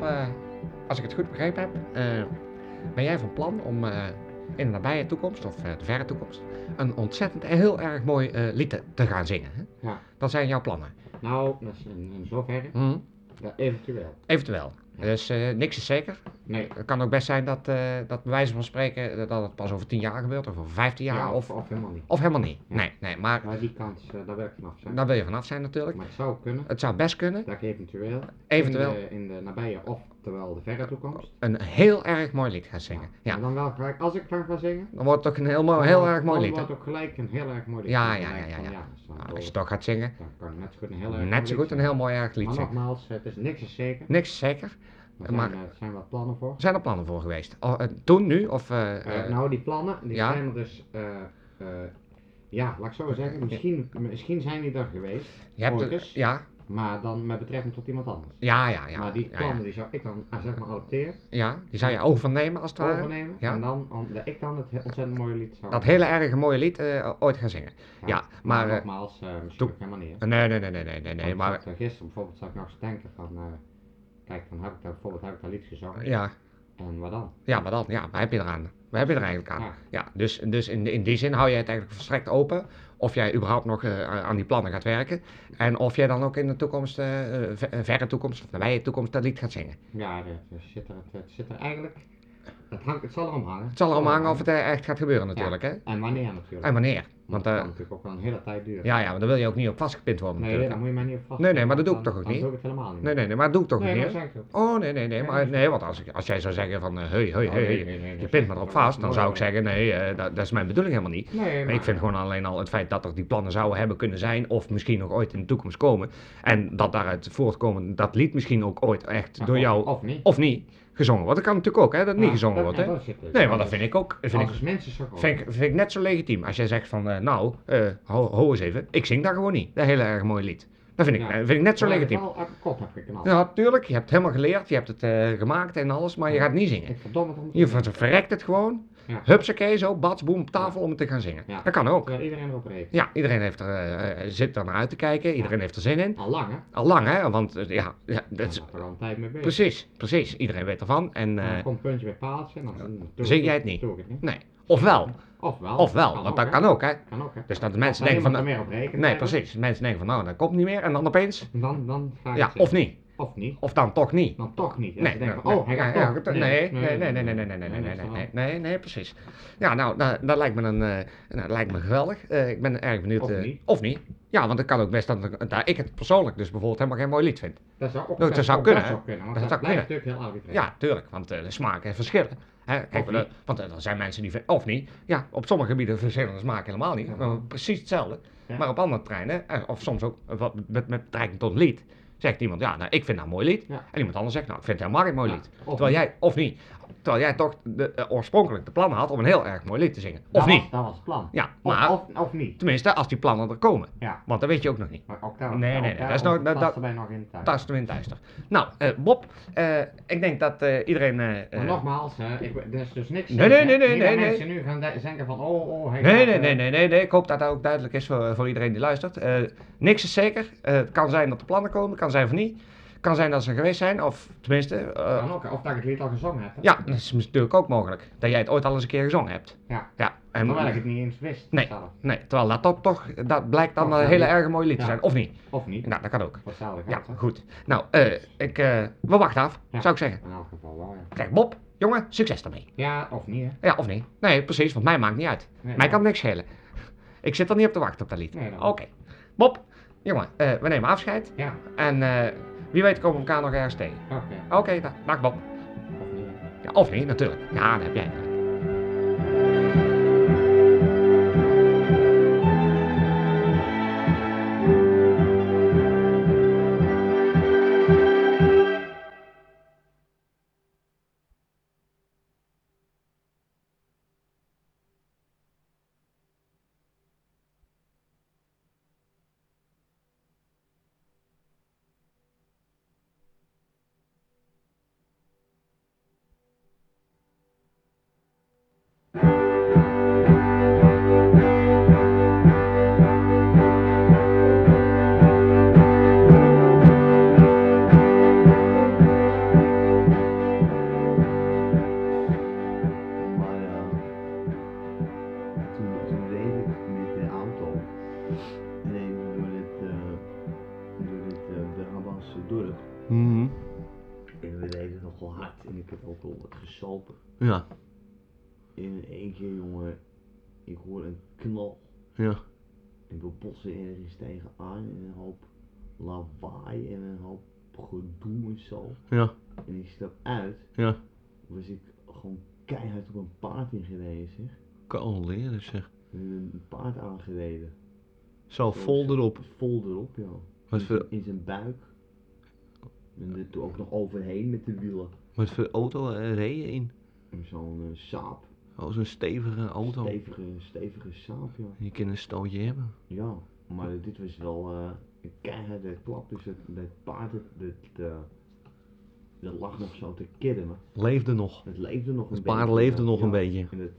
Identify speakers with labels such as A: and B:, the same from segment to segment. A: eh, goed begrepen heb, eh, ben jij van plan om eh, in de nabije toekomst, of eh, de verre toekomst, een ontzettend en heel erg mooi eh, lied te, te gaan zingen. Hè?
B: Ja. Mhm.
A: Dat zijn jouw plannen.
B: Nou, dat is in, in zoverre.
A: Hm?
B: Ja, eventueel.
A: Eventueel. Dus eh, niks is zeker.
B: Nee.
A: Het kan ook best zijn dat, eh dat bij wijze van spreken eh, dat het pas over 10 jaar gebeurt, of over 15 jaar,
B: of,
A: of,
B: of helemaal niet.
A: of helemaal niet.
B: Ja.
A: Nee, nee, maar
B: Maar die kans, eh, daar wil ik vanaf zijn.
A: daar wil je vanaf zijn natuurlijk.
B: Maar het zou kunnen
A: Het zou best kunnen,
B: dat ik eventueel,
A: eventueel,
B: In, de, in de nabije of terwijl de verre toekomst
A: een heel erg mooi lied gaan zingen.
B: eh,
A: Ja,
B: Ja. Maar dan wel gelijk, als ik dan ga zingen,
A: dan wordt het ook een heel, mooi, heel
B: dan-
A: erg mooi
B: dan
A: lied. hè?
B: wordt ook gelijk een heel erg mooi lied.
A: Ja,
B: Dan
A: ja,
B: denk
A: ja,
B: ik
A: ja,
B: van,
A: ja.
B: dus dan
A: Nou,
B: wil
A: als je
B: ik-
A: het ook gaat zingen,
B: dan kan ik net zo goed een heel erg mooi
A: net zo
B: lied
A: goed een
B: zingen.
A: heel mooi erg lied
B: Maar
A: zingen.
B: nogmaals, het is niks is zeker.
A: Niks is zeker.
B: Er zijn,
A: maar-
B: eh, er zijn wat plannen voor.
A: Zijn er plannen voor geweest? Oh, eh, toen, nu of... eh,
B: Eh,
A: eh,
B: nou, die plannen, die
A: ja.
B: zijn er dus, eh, eh, ja, laat ik zo zeggen, misschien, misschien zijn die er geweest,
A: je hebt
B: ooit
A: er-
B: eens.
A: ja,
B: maar dan met betrekking tot iemand anders.
A: ja, ja, ja.
B: maar die
A: ja, ja,
B: plannen, die zou ik dan, ah, zeg maar, adopteren,
A: ja, die zou je overnemen als het ware.
B: overnemen,
A: ja.
B: en dan, om- dat ik dan het he- ontzettend mooie lied zou
A: Dat hele erg mooie lied eh, ooit gaan zingen. Ja, maar, eh,
B: nogmaals, eh, misschien
A: toen-
B: ook helemaal niet, hè.
A: Nee, nee, nee, nee, nee, nee, nee,
B: Want
A: maar...
B: ik zat, eh, gisteren bijvoorbeeld zat ik nog eens te denken van, eh, kijk, dan heb ik daar, bijvoorbeeld heb ik dat lied gezongen.
A: Ja,
B: En wat dan?
A: ja, maar dan, ja, waar heb je eraan? Waar heb je er eigenlijk aan?
B: Ja.
A: Ja, dus, dus in, in die zin hou jij het eigenlijk verstrekt open. Of jij überhaupt nog eh, aan- aan die plannen gaat werken. En of jij dan ook in de toekomst, eh, eh, ver- eh, verre toekomst of nabije toekomst, dat lied gaat zingen.
B: Ja, dat, eh, zit er, het, het zit er eigenlijk, het, hangt, het zal erom hangen.
A: Het zal erom hangen of het eh, echt gaat gebeuren natuurlijk, hè?
B: En wanneer natuurlijk.
A: En wanneer.
B: Want
A: Want
B: dat
A: eh,
B: kan natuurlijk ook wel een hele tijd duren.
A: ja, ja, maar daar wil je ook niet op vastgepind worden
B: nee,
A: natuurlijk.
B: daar moet je mij niet op vast.
A: Nee, nee, maar dat doe ik
B: Dan-
A: toch ook
B: dan
A: niet?
B: doe ik het helemaal niet.
A: Nee, nee, nee, maar dat doe ik toch
B: nee,
A: niet.
B: dat
A: hè?
B: zeg ik ook.
A: Oh, nee, nee, nee, maar, nee, want als, ik, als jij zou zeggen van, eh, hey, hey,
B: Oh,
A: hey,
B: nee,
A: hey,
B: nee, nee,
A: je
B: dat
A: pint
B: zeg
A: me
B: ik
A: erop
B: wel.
A: vast, dan zou ik
B: Nee,
A: zeggen, nee, eh, dat, dat is mijn bedoeling helemaal niet.
B: Nee,
A: Maar
B: maar
A: ik vind gewoon alleen al het feit dat er die plannen zouden hebben kunnen zijn, of misschien nog ooit in de toekomst komen, en dat daaruit voortkomen dat lied misschien ook ooit echt
B: Maar
A: door
B: of-
A: jou,
B: Of niet.
A: of niet, gezongen wordt. Dat kan natuurlijk ook, hè, dat het niet
B: Ja,
A: gezongen
B: dat-
A: wordt,
B: en
A: hè.
B: dat zit dus.
A: Nee, want dat
B: Als-
A: vind ik ook, vind ik,
B: Als mensen zo gewoon.
A: vind ik, vind ik net zo legitiem. Als jij zegt van, eh, nou, eh ho, ho eens even, ik zing daar gewoon niet, dat hele erg mooi lied. Dat vind ik,
B: Ja.
A: eh, vind ik net zo
B: Maar
A: legitiem.
B: Ik heb wel uit mijn kop heb geknald.
A: Ja, natuurlijk. Je hebt het helemaal geleerd. Je hebt het eh, gemaakt en alles. Maar je gaat niet zingen.
B: Ik verdomme het om te
A: Je
B: doen.
A: ver- verrekt het gewoon.
B: Ja.
A: Hupsakee, zo. Bats, boem, op tafel om het te gaan zingen.
B: Ja.
A: Dat kan ook.
B: Terwijl iedereen erop reed.
A: Ja, iedereen heeft er, eh, eh, zit er naar uit te kijken. Iedereen heeft er zin in.
B: Al lang, hè?
A: Al lang, hè? Want eh, ja, ja, dat
B: Dat
A: is...
B: is er al een tijd mee bezig.
A: Precies, precies. Iedereen weet ervan. En
B: Dan
A: eh,
B: komt puntje bij paaltje en dan dan doe
A: Zeg
B: ik
A: jij het niet?
B: doe ik het niet.
A: nee. Ofwel.
B: Ofwel.
A: Ofwel. Want dat kan ook, hè?
B: Kan ook, hè?
A: Dus dat de
B: Als
A: mensen
B: daar
A: denken van...
B: niemand er meer op rekenen. dus
A: Nee, precies. De mensen denken van, nou, dat komt niet meer. En dan opeens...
B: Dan, dan ga ik
A: Ja,
B: het
A: of
B: zeggen.
A: niet.
B: Of niet.
A: Of dan toch niet.
B: Dan toch niet.
A: Nee,
B: denk
A: nee,
B: van, oh, hij gaat
A: nee,
B: toch.
A: hij gaat- nee, nee, nee, nee, nee, nee, nee, nee, nee, nee, nee, nee, nee, nee, precies. Ja, nou, dat, dat lijkt me een, eh, nou, dat lijkt me geweldig. Eh, ik ben erg benieuwd.
B: Of
A: eh,
B: niet.
A: Of niet. Ja, want het kan ook best dat, dat ik het persoonlijk dus bijvoorbeeld helemaal geen mooi lied vind.
B: Dat zou ook
A: Nou, Dat
B: best-
A: zou
B: ook
A: kunnen,
B: best
A: hè?
B: wel kunnen, want
A: Dat
B: dat
A: zou
B: blijft natuurlijk heel arbitrair.
A: Ja, tuurlijk, want eh, de smaken verschillen. Hè, kijk,
B: Of
A: eh,
B: niet.
A: want eh, er zijn mensen die, vin- of niet, ja, op sommige gebieden verschillen de smaken helemaal niet.
B: Ja.
A: maar precies hetzelfde.
B: Ja.
A: Maar op andere treinen, eh, of soms ook eh, wat, met, met betrekking tot lied, zegt iemand, ja, nou, ik vind dat een mooi lied.
B: Ja.
A: En iemand anders zegt, nou, ik vind het helemaal geen mooi
B: Ja,
A: lied.
B: of
A: Terwijl
B: niet.
A: jij, of niet, terwijl jij toch de, eh, oorspronkelijk de plannen had om een heel erg mooi lied te zingen. Of
B: Dat was-
A: niet.
B: Dat was het plan.
A: Ja,
B: Nou, Of-
A: maar
B: Of, of niet.
A: tenminste, als die plannen er komen.
B: Ja.
A: Want dat weet je ook nog niet.
B: Maar ook daar,
A: Nee,
B: ook
A: nee, nee,
B: daar
A: dat is nou- dat-
B: past
A: dat-
B: erbij nog in de tijd.
A: Tasten we in duister. Nou, eh, Bob, eh, ik denk dat eh, iedereen... eh, eh,
B: Maar nogmaals, hè, ik, er is dus niks.
A: Nee,
B: zeker,
A: nee,
B: hè.
A: nee, nee,
B: Niet dat
A: nee, nee.
B: mensen nu gaan de- denken van, oh, oh, hij
A: Nee,
B: gaat,
A: nee,
B: eh,
A: nee, nee, nee, nee. Ik hoop dat dat ook duidelijk is voor, voor iedereen die luistert. Eh, niks is zeker. Eh, het kan zijn dat er plannen komen, kan zijn of niet. kan zijn dat ze er geweest zijn, of tenminste... eh,
B: kan ook, hè. Of dat ik het lied al gezongen heb. hè.
A: ja, dat is natuurlijk ook mogelijk. Dat jij het ooit al eens een keer gezongen hebt.
B: Ja.
A: Ja. En,
B: Terwijl ik het niet eens wist.
A: Nee.
B: zelf.
A: Nee, terwijl dat toch, toch dat blijkt dan
B: Oh,
A: een
B: ja,
A: hele
B: ja.
A: erg mooie lied te
B: Ja.
A: zijn. Of niet?
B: Of niet.
A: Nou, dat kan ook.
B: Voor hetzelfde
A: Ja,
B: geld, hè.
A: goed. Nou, eh, ik, eh, we wachten af,
B: Ja.
A: zou ik zeggen.
B: In elk geval wel, ja.
A: Kijk, Bob, jongen, succes daarmee.
B: Ja, of niet, hè.
A: Ja, of niet? Nee, precies, want mij maakt niet uit.
B: Nee,
A: Mij
B: ja.
A: kan niks schelen. Ik zit er niet op te wachten op dat lied.
B: Nee,
A: Oké.
B: daarom.
A: Bob, jongen, eh, we nemen afscheid.
B: Ja,
A: En eh, wie weet komen we elkaar nog ergens tegen.
B: oké.
A: Oké, da- dag Bob.
B: Of niet, hè.
A: Ja, of niet, natuurlijk. Ja, dat heb jij.
B: ehm, eh,
C: in één keer, jongen, ik hoor een knal.
D: Ja.
C: En we botsen ergens tegenaan en een hoop lawaai en een hoop gedoe en zo.
D: Ja.
C: En ik stap uit.
D: Ja.
C: Was ik gewoon keihard op een paard ingereden, zeg.
D: Kan al leren zeg.
C: En een paard aangereden.
D: Zo vol erop.
C: Vol erop, ja.
D: Wat
C: In-
D: voor,
C: In zijn buik. En er toen ook nog overheen met de wielen.
D: wat voor auto eh, reed je in?
C: En Zo'n eh, saap.
D: Oh, zo'n stevige auto.
C: Stevige, stevige saap, ja.
D: Je kan een stootje hebben.
C: Ja, maar dit was wel eh, een keiharde klap. Dus het, het paard, het, het, eh, dat lag nog zo te kermen.
D: Leefde nog.
C: Het leefde nog een
D: Het
C: beetje.
D: paard leefde
C: ja,
D: nog een
C: ja.
D: beetje.
C: En het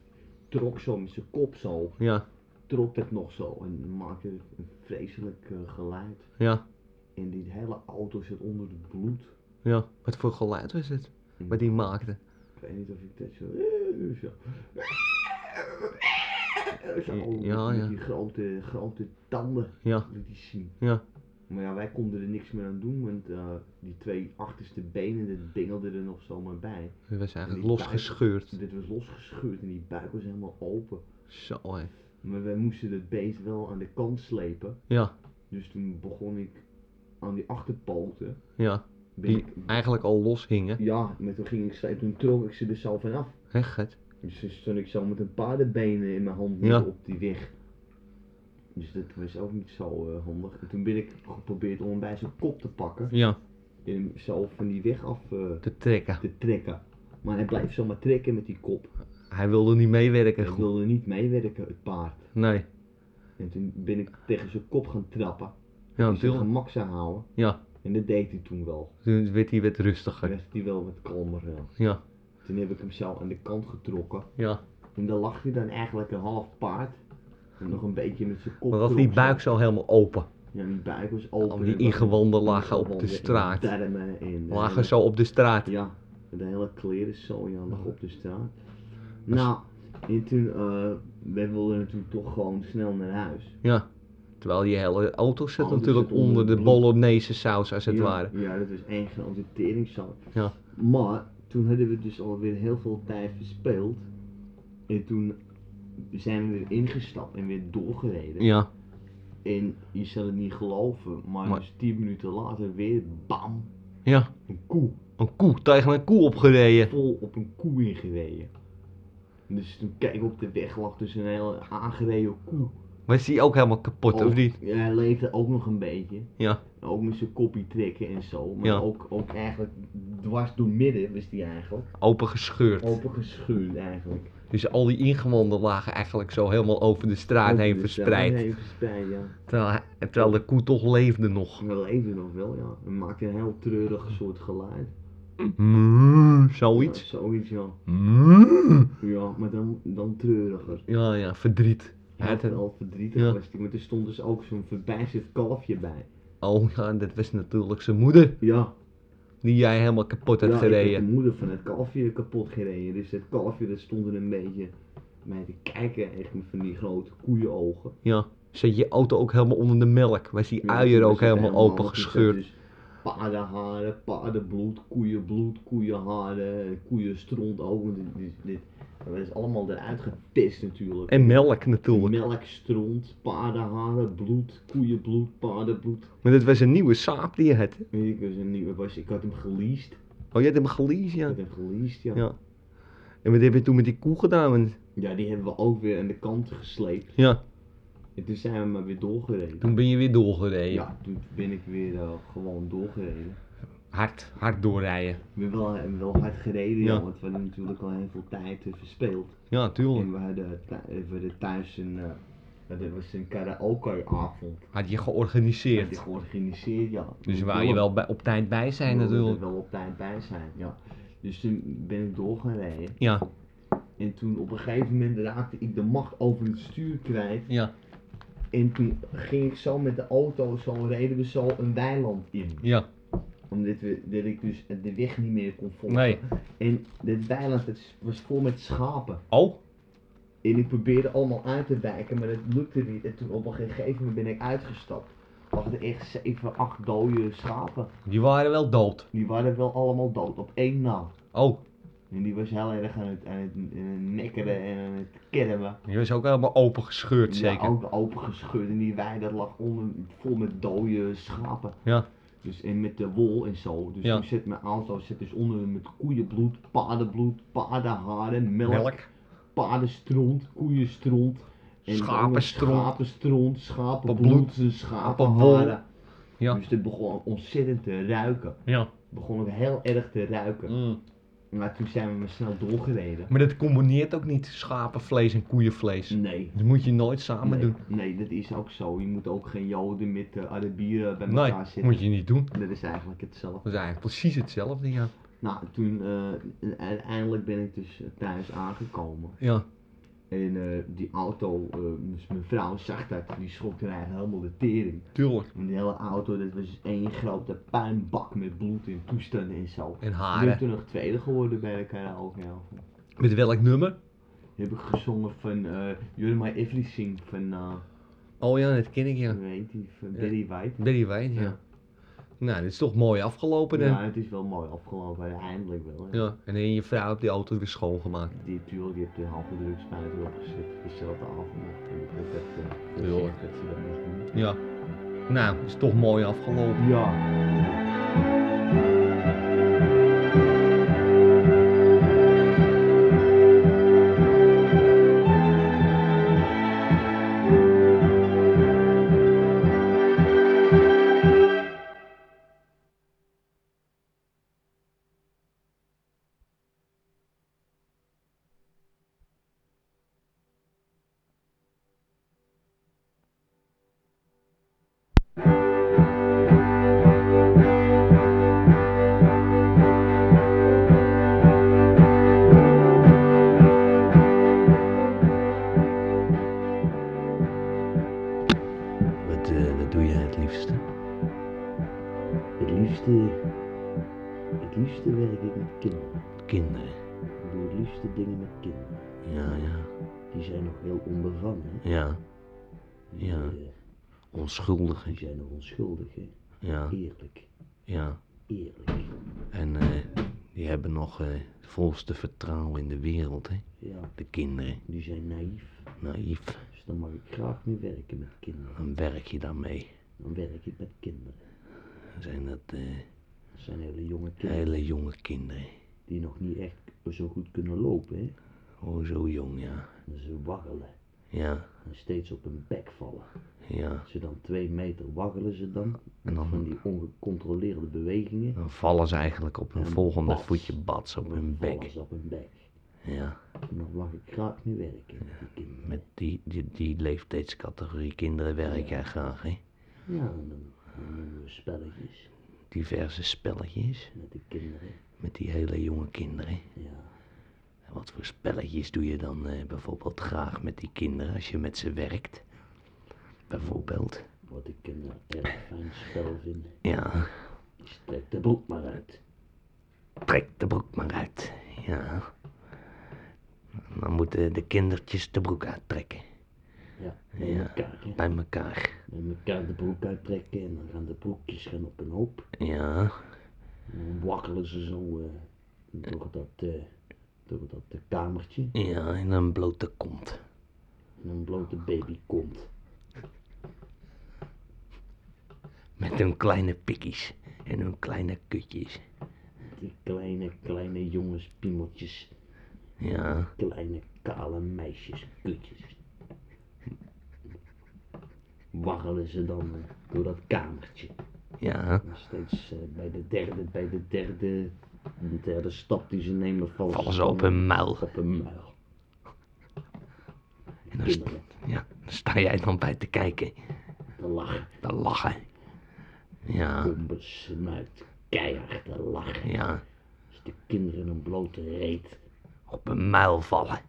C: trok zo met zijn kop zo,
D: Ja.
C: trok het nog zo en maakte een vreselijk eh, geluid.
D: Ja.
C: En die hele auto zit onder het bloed.
D: Ja. Wat voor geluid was het? Wat die maakte.
C: Ik weet niet of ik dat zo... zo. Zo,
D: Ja,
C: met
D: ja.
C: die grote, grote tanden
D: Ja.
C: liet hij zien.
D: Ja.
C: Maar ja, wij konden er niks meer aan doen, want eh, die twee achterste benen, dat bengelde er nog zomaar bij. En
D: Het was
C: die
D: eigenlijk
C: buik-
D: losgescheurd.
C: Dit was losgescheurd en die buik was helemaal open.
D: Zo hè.
C: Maar wij moesten het beest wel aan de kant slepen.
D: Ja.
C: Dus toen begon ik aan die achterpoten.
D: Ja.
C: Ben
D: Die
C: ik,
D: eigenlijk al los hingen.
C: ja, maar toen ging ik slepen, toen trok ik ze er zo vanaf.
D: Hè, Gert?
C: Dus toen stond ik zo met een paardenbenen in mijn hand
D: Ja.
C: op die weg. Dus dat was ook niet zo eh, handig. En toen ben ik geprobeerd om hem bij zijn kop te pakken.
D: Ja.
C: En hem zo van die weg af eh,
D: Te trekken.
C: te trekken. Maar hij blijft zomaar trekken met die kop.
D: Hij wilde niet meewerken.
C: Hij
D: goed.
C: wilde niet meewerken, het paard.
D: Nee.
C: En toen ben ik tegen zijn kop gaan trappen.
D: Ja,
C: om zijn
D: natuurlijk.
C: gemak zou houden.
D: Ja.
C: En dat deed hij toen wel.
D: Toen werd hij wat
C: Toen
D: rustiger.
C: werd hij wel wat kalmer. ja.
D: Ja.
C: Toen heb ik hem zo aan de kant getrokken.
D: Ja.
C: En daar lag hij dan eigenlijk een half paard. En nog een beetje met zijn kop
D: Maar was
C: erop
D: die
C: zo.
D: buik zo helemaal open.
C: Ja, die buik was open.
D: Al
C: en
D: die
C: dan-
D: ingewanden lagen op de
C: ingewanden en
D: straat.
C: darmen en... eh,
D: Lagen zo op de straat.
C: Ja, de hele kleren zo ja, lag op de straat. Nou, en toen, eh wij wilden natuurlijk toch gewoon snel naar huis.
D: Ja. Terwijl die hele auto zit
C: Auto
D: natuurlijk
C: zit onder
D: onder de
C: het bloed.
D: bolognese saus als het
C: ja,
D: ware.
C: Ja, dat was één grote teringzaal.
D: Ja.
C: Maar toen hadden we dus alweer heel veel tijd verspeeld. En toen zijn we weer ingestapt en weer doorgereden.
D: Ja.
C: En je zal het niet geloven, maar,
D: Maar-
C: dus 10 minuten later weer bam,
D: Ja.
C: een koe.
D: Een koe. Tegen een koe opgereden.
C: Vol op een koe ingereden. Dus toen kijk ik op de weg lag dus een hele aangereden koe.
D: Was die ook helemaal kapot
C: Ook-
D: of niet?
C: Ja, hij leefde ook nog een beetje.
D: Ja.
C: Ook met zijn koppie trekken en zo. Maar
D: Ja.
C: ook, ook eigenlijk dwars door midden was die eigenlijk.
D: Open gescheurd.
C: Open geschuurd eigenlijk.
D: Dus al die ingewanden lagen eigenlijk zo helemaal over de straat
C: Open
D: heen
C: de
D: verspreid.
C: straat heen verspreid, ja.
D: Terwijl, hij- terwijl de koe toch leefde nog.
C: We leefden nog wel, ja. Het maakte een heel treurig soort geluid.
D: Mm, zoiets.
C: Ja, zoiets, ja.
D: Mm.
C: Ja, maar dan, dan treuriger.
D: Ja, ja, verdriet. Hij
C: Hij
D: had een-
C: wel verdrietig
D: ja.
C: was die, maar er stond dus ook zo'n verbijsterd kalfje bij.
D: Oh ja, dat was natuurlijk zijn moeder.
C: Ja,
D: Die jij helemaal kapot had
C: ja ik heb
D: gereden.
C: de moeder van het kalfje kapot gereden. Dus dat kalfje dat stond er een beetje bij te kijken, echt met van die grote koeienogen.
D: Ja. Zet je auto ook helemaal onder de melk. Was die
C: Ja,
D: uier
C: toen
D: ook
C: was het
D: helemaal open gescheurd.
C: toen zat Dus paardenharen, paardenbloed, koeienbloed, koeienharen, koeienstront ook. want Dit, dit, dit, dat is allemaal eruit gepist natuurlijk.
D: En melk natuurlijk.
C: Melkstront, paardenharen, bloed, koeienbloed, paardenbloed.
D: Maar dit was een nieuwe saap die je had.
C: Ik, was een nieuwe, was, ik had hem geleased.
D: Oh, je had hem geleased, ja.
C: Ik heb hem geleased, ja.
D: Ja.
C: ja.
D: En wat heb je toen met die koe gedaan? Want-
C: die hebben we ook weer aan de kant gesleept.
D: Ja,
C: En toen zijn we maar weer doorgereden.
D: toen ben je weer doorgereden.
C: Ja, toen ben ik weer eh, gewoon doorgereden.
A: Hard, hard doorrijden.
C: We hebben wel, we hebben wel hard gereden,
D: Ja.
C: ja. want we hadden natuurlijk al heel veel tijd eh, verspeeld.
D: Ja, tuurlijk.
C: En we hadden, thu- we hadden thuis een, eh, ja, dat was een karaokeavond.
D: Had je
C: Die had ik
D: georganiseerd.
C: georganiseerd, ja.
D: Dus
C: Ik
D: waar
C: wil-
D: je wel bij, op tijd bij zijn
C: ik wil er
D: natuurlijk.
C: wel op tijd bij zijn, ja. Dus toen ben ik doorgereden.
D: Ja,
C: En toen op een gegeven moment raakte ik de macht over het stuur kwijt.
D: ja,
C: En toen ging ik zo met de auto, zo reden we zo een weiland in.
D: ja.
C: Omdat we, dat ik dus de weg niet meer kon volgen.
D: Nee.
C: En dit weiland het was vol met schapen.
D: Oh,
C: En ik probeerde allemaal uit te wijken, maar dat lukte niet. En toen op een gegeven moment ben ik uitgestapt. Lag er echt 7, 8 dode schapen.
D: die waren wel dood.
C: Die waren wel allemaal dood, op één na.
D: Oh,
C: En die was heel erg aan het, aan het, aan het mekkeren en kennen we.
D: Die was ook helemaal open gescheurd, zeker.
C: Ja, ook opengescheurd in die wei, dat lag onder, vol met dode schapen.
D: Ja.
C: Dus en met de wol en zo. Dus
D: Ja.
C: toen zit mijn aanslag zit dus onder met koeienbloed, paardenbloed, paardenharen, melk,
A: Melk.
C: paardenstront, koeienstront. en
A: Schapenstront.
C: dan Schapenstront, schapenbloed,
D: Bloed.
C: en
D: Schapenwol.
C: schapenharen.
D: Ja.
C: Dus het begon ontzettend te ruiken.
D: Ja.
C: Begon ook heel erg te ruiken.
D: Mm.
C: Maar toen zijn we maar snel doorgereden.
D: Maar dat combineert ook niet schapenvlees en koeienvlees.
C: Nee,
D: Dat moet je nooit samen
C: nee,
D: doen.
C: Nee, dat is ook zo. Je moet ook geen Joden met eh, Arabieren bij
D: Nee,
C: elkaar zitten.
D: moet je niet doen.
C: Dat is eigenlijk hetzelfde.
D: Dat is eigenlijk precies hetzelfde, ja.
C: Nou, toen eh, uiteindelijk ben ik dus thuis aangekomen.
D: Ja.
C: En eh, die auto, eh, dus mijn vrouw zag dat, die schrok er eigenlijk helemaal de tering.
D: Tuurlijk.
C: En die hele auto, dat was dus één grote puinbak met bloed en toestanden en zo.
D: En
C: Ik ben
D: haren.
C: toen nog tweede geworden bij de karaokeavond.
D: Met welk nummer?
C: Heb ik gezongen van eh You're My Everything van, eh
D: Oh ja, dat ken ik, ja.
C: hoe heet die, van
D: Ja.
C: Barry White.
D: Barry White, ja.
C: Ja.
D: Nou, dit is toch mooi afgelopen dan.
C: Ja,
D: Ja.
C: het is wel mooi afgelopen, uiteindelijk wel. hè.
D: En dan je vrouw hebt die auto weer schoongemaakt.
C: Die tuurlijk, die heeft de halve drugspuit erop gezet, dezelfde avond. En ik heb dat eh,
D: Tuurlijk.
C: gezegd dat ze dat moest doen.
D: Ja. Nou, is toch mooi afgelopen.
C: Ja.
D: Wat, eh, wat doe jij het liefste?
C: Het liefste, het liefste werk ik met kinderen.
D: Kinderen.
C: Ik doe het liefste dingen met kinderen.
D: Ja, ja.
C: Die zijn nog heel onbevangen. hè.
D: Ja.
C: Die,
D: Ja.
C: eh,
D: Onschuldig.
C: Die zijn nog onschuldig, hè.
D: Ja,
C: Eerlijk,
D: ja.
C: eerlijk.
D: En eh, die hebben nog eh, het volste vertrouwen in de wereld, hè?
C: Ja,
D: De kinderen.
C: die zijn naïef.
D: Naïef.
C: Dus dan mag ik graag mee werken met kinderen.
D: Dan werk je daarmee.
C: Dan werk ik met kinderen.
D: Zijn dat eh,
C: Dat zijn hele jonge kinderen
D: hele jonge kinderen.
C: die nog niet echt zo goed kunnen lopen, hè.
D: Oh, zo jong, ja.
C: En ze waggelen.
D: Ja,
C: en steeds op hun bek vallen.
D: ja.
C: Als ze dan twee meter waggelen ze dan.
D: En dan-
C: van die ongecontroleerde bewegingen.
D: Dan vallen ze eigenlijk op hun
C: En
D: volgende
C: bats.
D: voetje bats op
C: dan
D: hun
C: vallen
D: bek.
C: ze op hun bek.
D: Ja,
C: En dan mag ik graag mee werken met die kinderen.
D: met die, die, die leeftijdscategorie kinderen werk jij graag, hè?
C: Ja, en dan, dan doen we spelletjes
D: Diverse spelletjes
C: met de kinderen.
D: met die hele jonge kinderen.
C: Ja.
D: En wat voor spelletjes doe je dan eh, bijvoorbeeld graag met die kinderen als je met ze werkt? Bijvoorbeeld.
C: Wat ik een erg fijn spel vind,
D: Ja,
C: is trek de broek maar uit.
D: trek de broek maar uit. Ja. Dan moeten de kindertjes de broek uittrekken.
C: Ja, met
D: Ja.
C: elkaar. Hè.
D: Bij elkaar.
C: Met elkaar de broek uittrekken en dan gaan de broekjes gaan op een hoop.
D: Ja,
C: En dan wakkelen ze zo eh, door dat, eh, door dat eh, kamertje.
D: ja, en een blote kont.
C: En een blote baby komt.
D: Met hun kleine pikkies en hun kleine kutjes.
C: Die kleine, kleine jongens, piemeltjes.
D: Ja,
C: Kleine, kale meisjes, kutjes. Waggelen ze dan eh, door dat kamertje.
D: ja.
C: En steeds eh, bij de derde, bij de derde, de derde stap die ze nemen vallen,
D: Vallen ze op hun muil.
C: Op hun muil.
D: En dan, st-
C: Kinderen,
D: ja, dan sta jij dan bij te kijken.
C: te lachen.
D: Te lachen. Ja,
C: Onbesmuikt, keihard te lachen.
D: Ah. ja.
C: Als de kinderen een blote reet.
D: Op een muil vallen.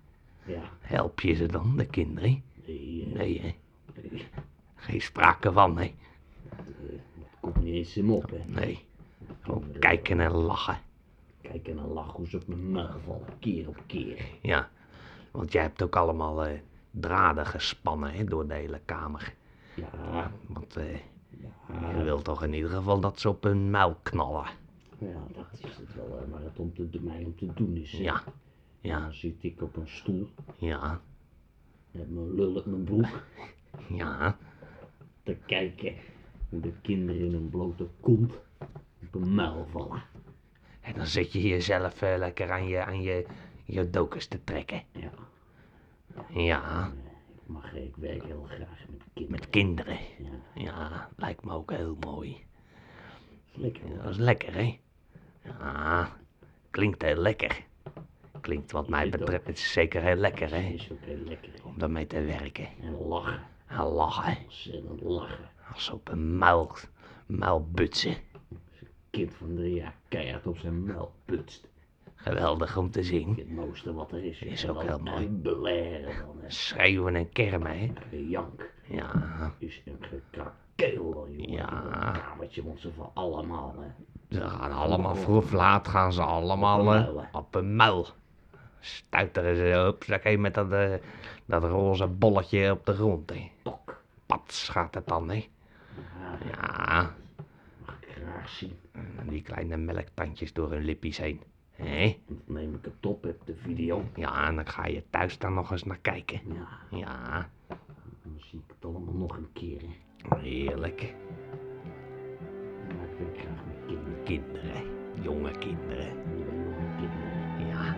C: Ja,
D: Help je ze dan, de kinderen?
C: die, eh,
D: Nee, hè?
C: die-
D: Geen sprake van, hè?
C: dat komt niet eens in me op, hè.
D: Nee. Gewoon kijken en lachen.
C: Kijk en dan lachen hoe ze op mijn muil vallen, keer op keer.
D: Ja. Want jij hebt ook allemaal eh, draden gespannen, hè, door de hele kamer.
C: Ja, ah,
D: Want eh, je
C: ja,
D: wilt toch in ieder geval dat ze op hun muil knallen?
C: ja, dat is het wel eh, waar het om te, mij om te doen is. hè.
D: Ja. Ja,
C: Dan zit ik op een stoel
D: ja.
C: met mijn lul in mijn broek
D: Ja,
C: te kijken hoe de kinderen in hun blote kont op hun muil vallen.
D: en dan zit je jezelf eh, lekker aan je, aan je, je dokus te trekken.
C: Ja,
D: Ja,
C: ik mag, ik werk heel graag met kinderen.
D: met kinderen.
C: Ja,
D: Ja, lijkt me ook heel mooi.
C: is lekker
D: Ja,
C: hoor.
D: Dat is lekker, hè? Ja, klinkt heel lekker. Klinkt wat mij
C: vind het
D: betreft is zeker heel lekker, hè?
C: Is ook heel lekker.
D: Om daarmee te werken.
C: En lachen,
D: En lachen.
C: ontzettend lachen.
D: Als op een muil, muil butsen.
C: Kind van drie jaar keihard op zijn muil putst.
D: Geweldig om te zien.
C: Het mooiste wat er is.
D: Is
C: En
D: ook
C: dan
D: heel mooi.
C: uitbeleren dan een
D: Schreeuwen en kermen, hè?
C: gejank.
D: Ja,
C: Is een gekrakeel dan, jongen.
D: Ja.
C: In een kamertje, want ze van allemaal, hè.
D: ze gaan allemaal vroeg of laat gaan ze allemaal
C: Op een
D: eh,
C: muil, hè?
D: op een muil. Stuiteren ze op, zeg hé, met dat, eh, dat roze bolletje op de grond, hè?
C: Tok.
D: Pats gaat het dan, hè?
C: Ja,
D: Ja,
C: mag ik graag zien.
D: en die kleine melktandjes door hun lippies heen. Hé?
C: En dan neem ik het op, heb de video.
D: Ja, en dan ga je thuis dan nog eens naar kijken.
C: Ja,
D: Ja,
C: dan zie ik het allemaal nog een keer, hè.
D: heerlijk.
C: Maar ik werk graag met kinderen.
D: Kinderen, jonge kinderen.
C: Jonge, jonge kinderen.
D: Ja.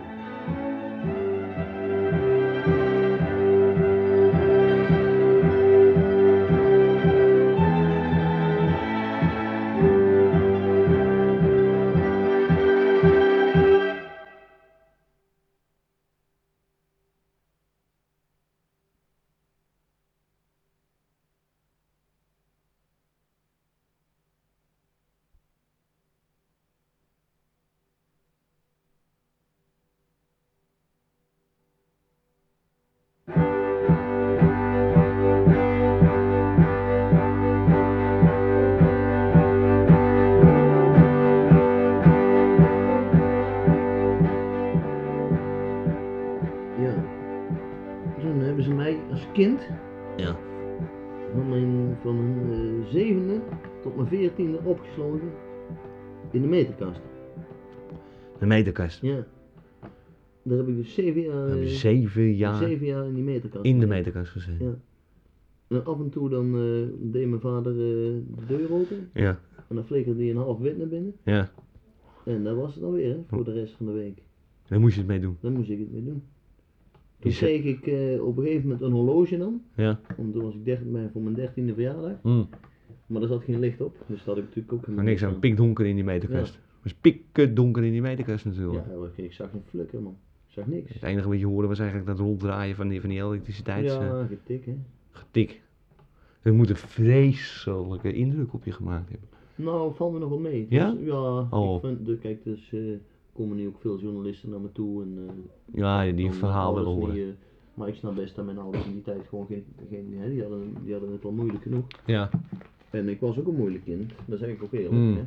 C: Ja. Toen hebben ze mij als kind.
D: Ja.
C: Van mijn, van mijn eh, zevende tot mijn veertiende opgesloten. In de meterkast.
D: De meterkast.
C: Ja. Daar heb ik dus zeven jaar, eh,
D: Zeven jaar
C: zeven jaar in die meterkast.
D: in de
C: gezeten.
D: meterkast gezeten.
C: En af en toe dan eh, deed mijn vader eh, de deur open.
D: Ja,
C: En dan flikkerde hij een half wit naar binnen.
D: ja.
C: En dat was het dan weer, hè, voor de rest van de week.
D: Daar moest je het mee doen.
C: Daar moest ik het mee doen. Toen
D: Is het-
C: kreeg ik eh, op een gegeven moment een horloge dan.
D: Dus Ja.
C: Want toen was ik 13 bij- voor mijn dertiende verjaardag.
D: Mm.
C: Maar daar zat geen licht op, dus dat had ik natuurlijk ook
D: Maar
C: helemaal
D: niks aan pikdonker in die meterkast. Het was pikdonker in die meterkast natuurlijk.
C: Ja, ik, ik zag geen flikker man. Ik zag niks.
D: Het enige wat je hoorde was eigenlijk dat ronddraaien van die, van die elektriciteits... eh,
C: ja, getik hè.
D: getik. Het moet een vreselijke indruk op je gemaakt hebben.
C: Nou, valt me nog wel mee. Het
D: Ja?
C: was- ja,
D: Oh.
C: ik vind, de, kijk, dus eh, komen nu ook veel journalisten naar me toe en... eh,
D: Ja, die
C: dan
D: verhaal willen
C: ouders
D: horen.
C: die, eh, maar ik snap best dat mijn ouders in die tijd gewoon geen... geen hè, die, hadden, die hadden het wel moeilijk genoeg.
D: Ja.
C: En ik was ook een moeilijk kind, dat zeg ik ook eerlijk
D: Mm.
C: hè.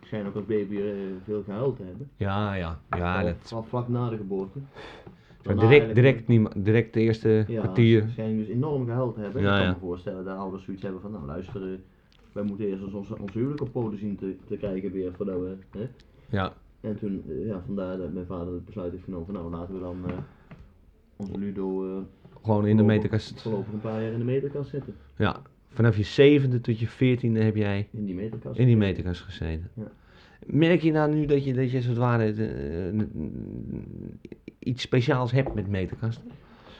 C: Ik schijn ook als baby eh, veel gehuild te hebben.
D: ja, ja, ja.
C: Al-
D: Dat,
C: al vlak na de geboorte.
D: maar
C: Daarna
D: direct,
C: eigenlijk-
D: direct, niet, direct de eerste
C: Ja, ze
D: kwartier.
C: zijn dus enorm gehuild hebben.
D: Ja,
C: ik kan
D: ja.
C: me voorstellen dat ouders zoiets hebben van, nou luister, eh, wij moeten eerst eens ons, ons huwelijk op poten zien te, te krijgen weer voordat we... Hè?
D: Ja.
C: En toen, eh, ja, vandaar dat mijn vader het besluit heeft genomen van, nou laten we dan eh, onze Ludo eh,
D: Gewoon in de
C: voorlopig-
D: meterkast.
C: voorlopig een paar jaar in de meterkast zetten.
D: Ja. Vanaf je zevende tot je veertiende heb jij
C: In die meterkast.
D: in die meterkast gezeten.
C: Ja.
D: Merk je nou nu dat je, dat je als het ware eh, eh, iets speciaals hebt met meterkasten?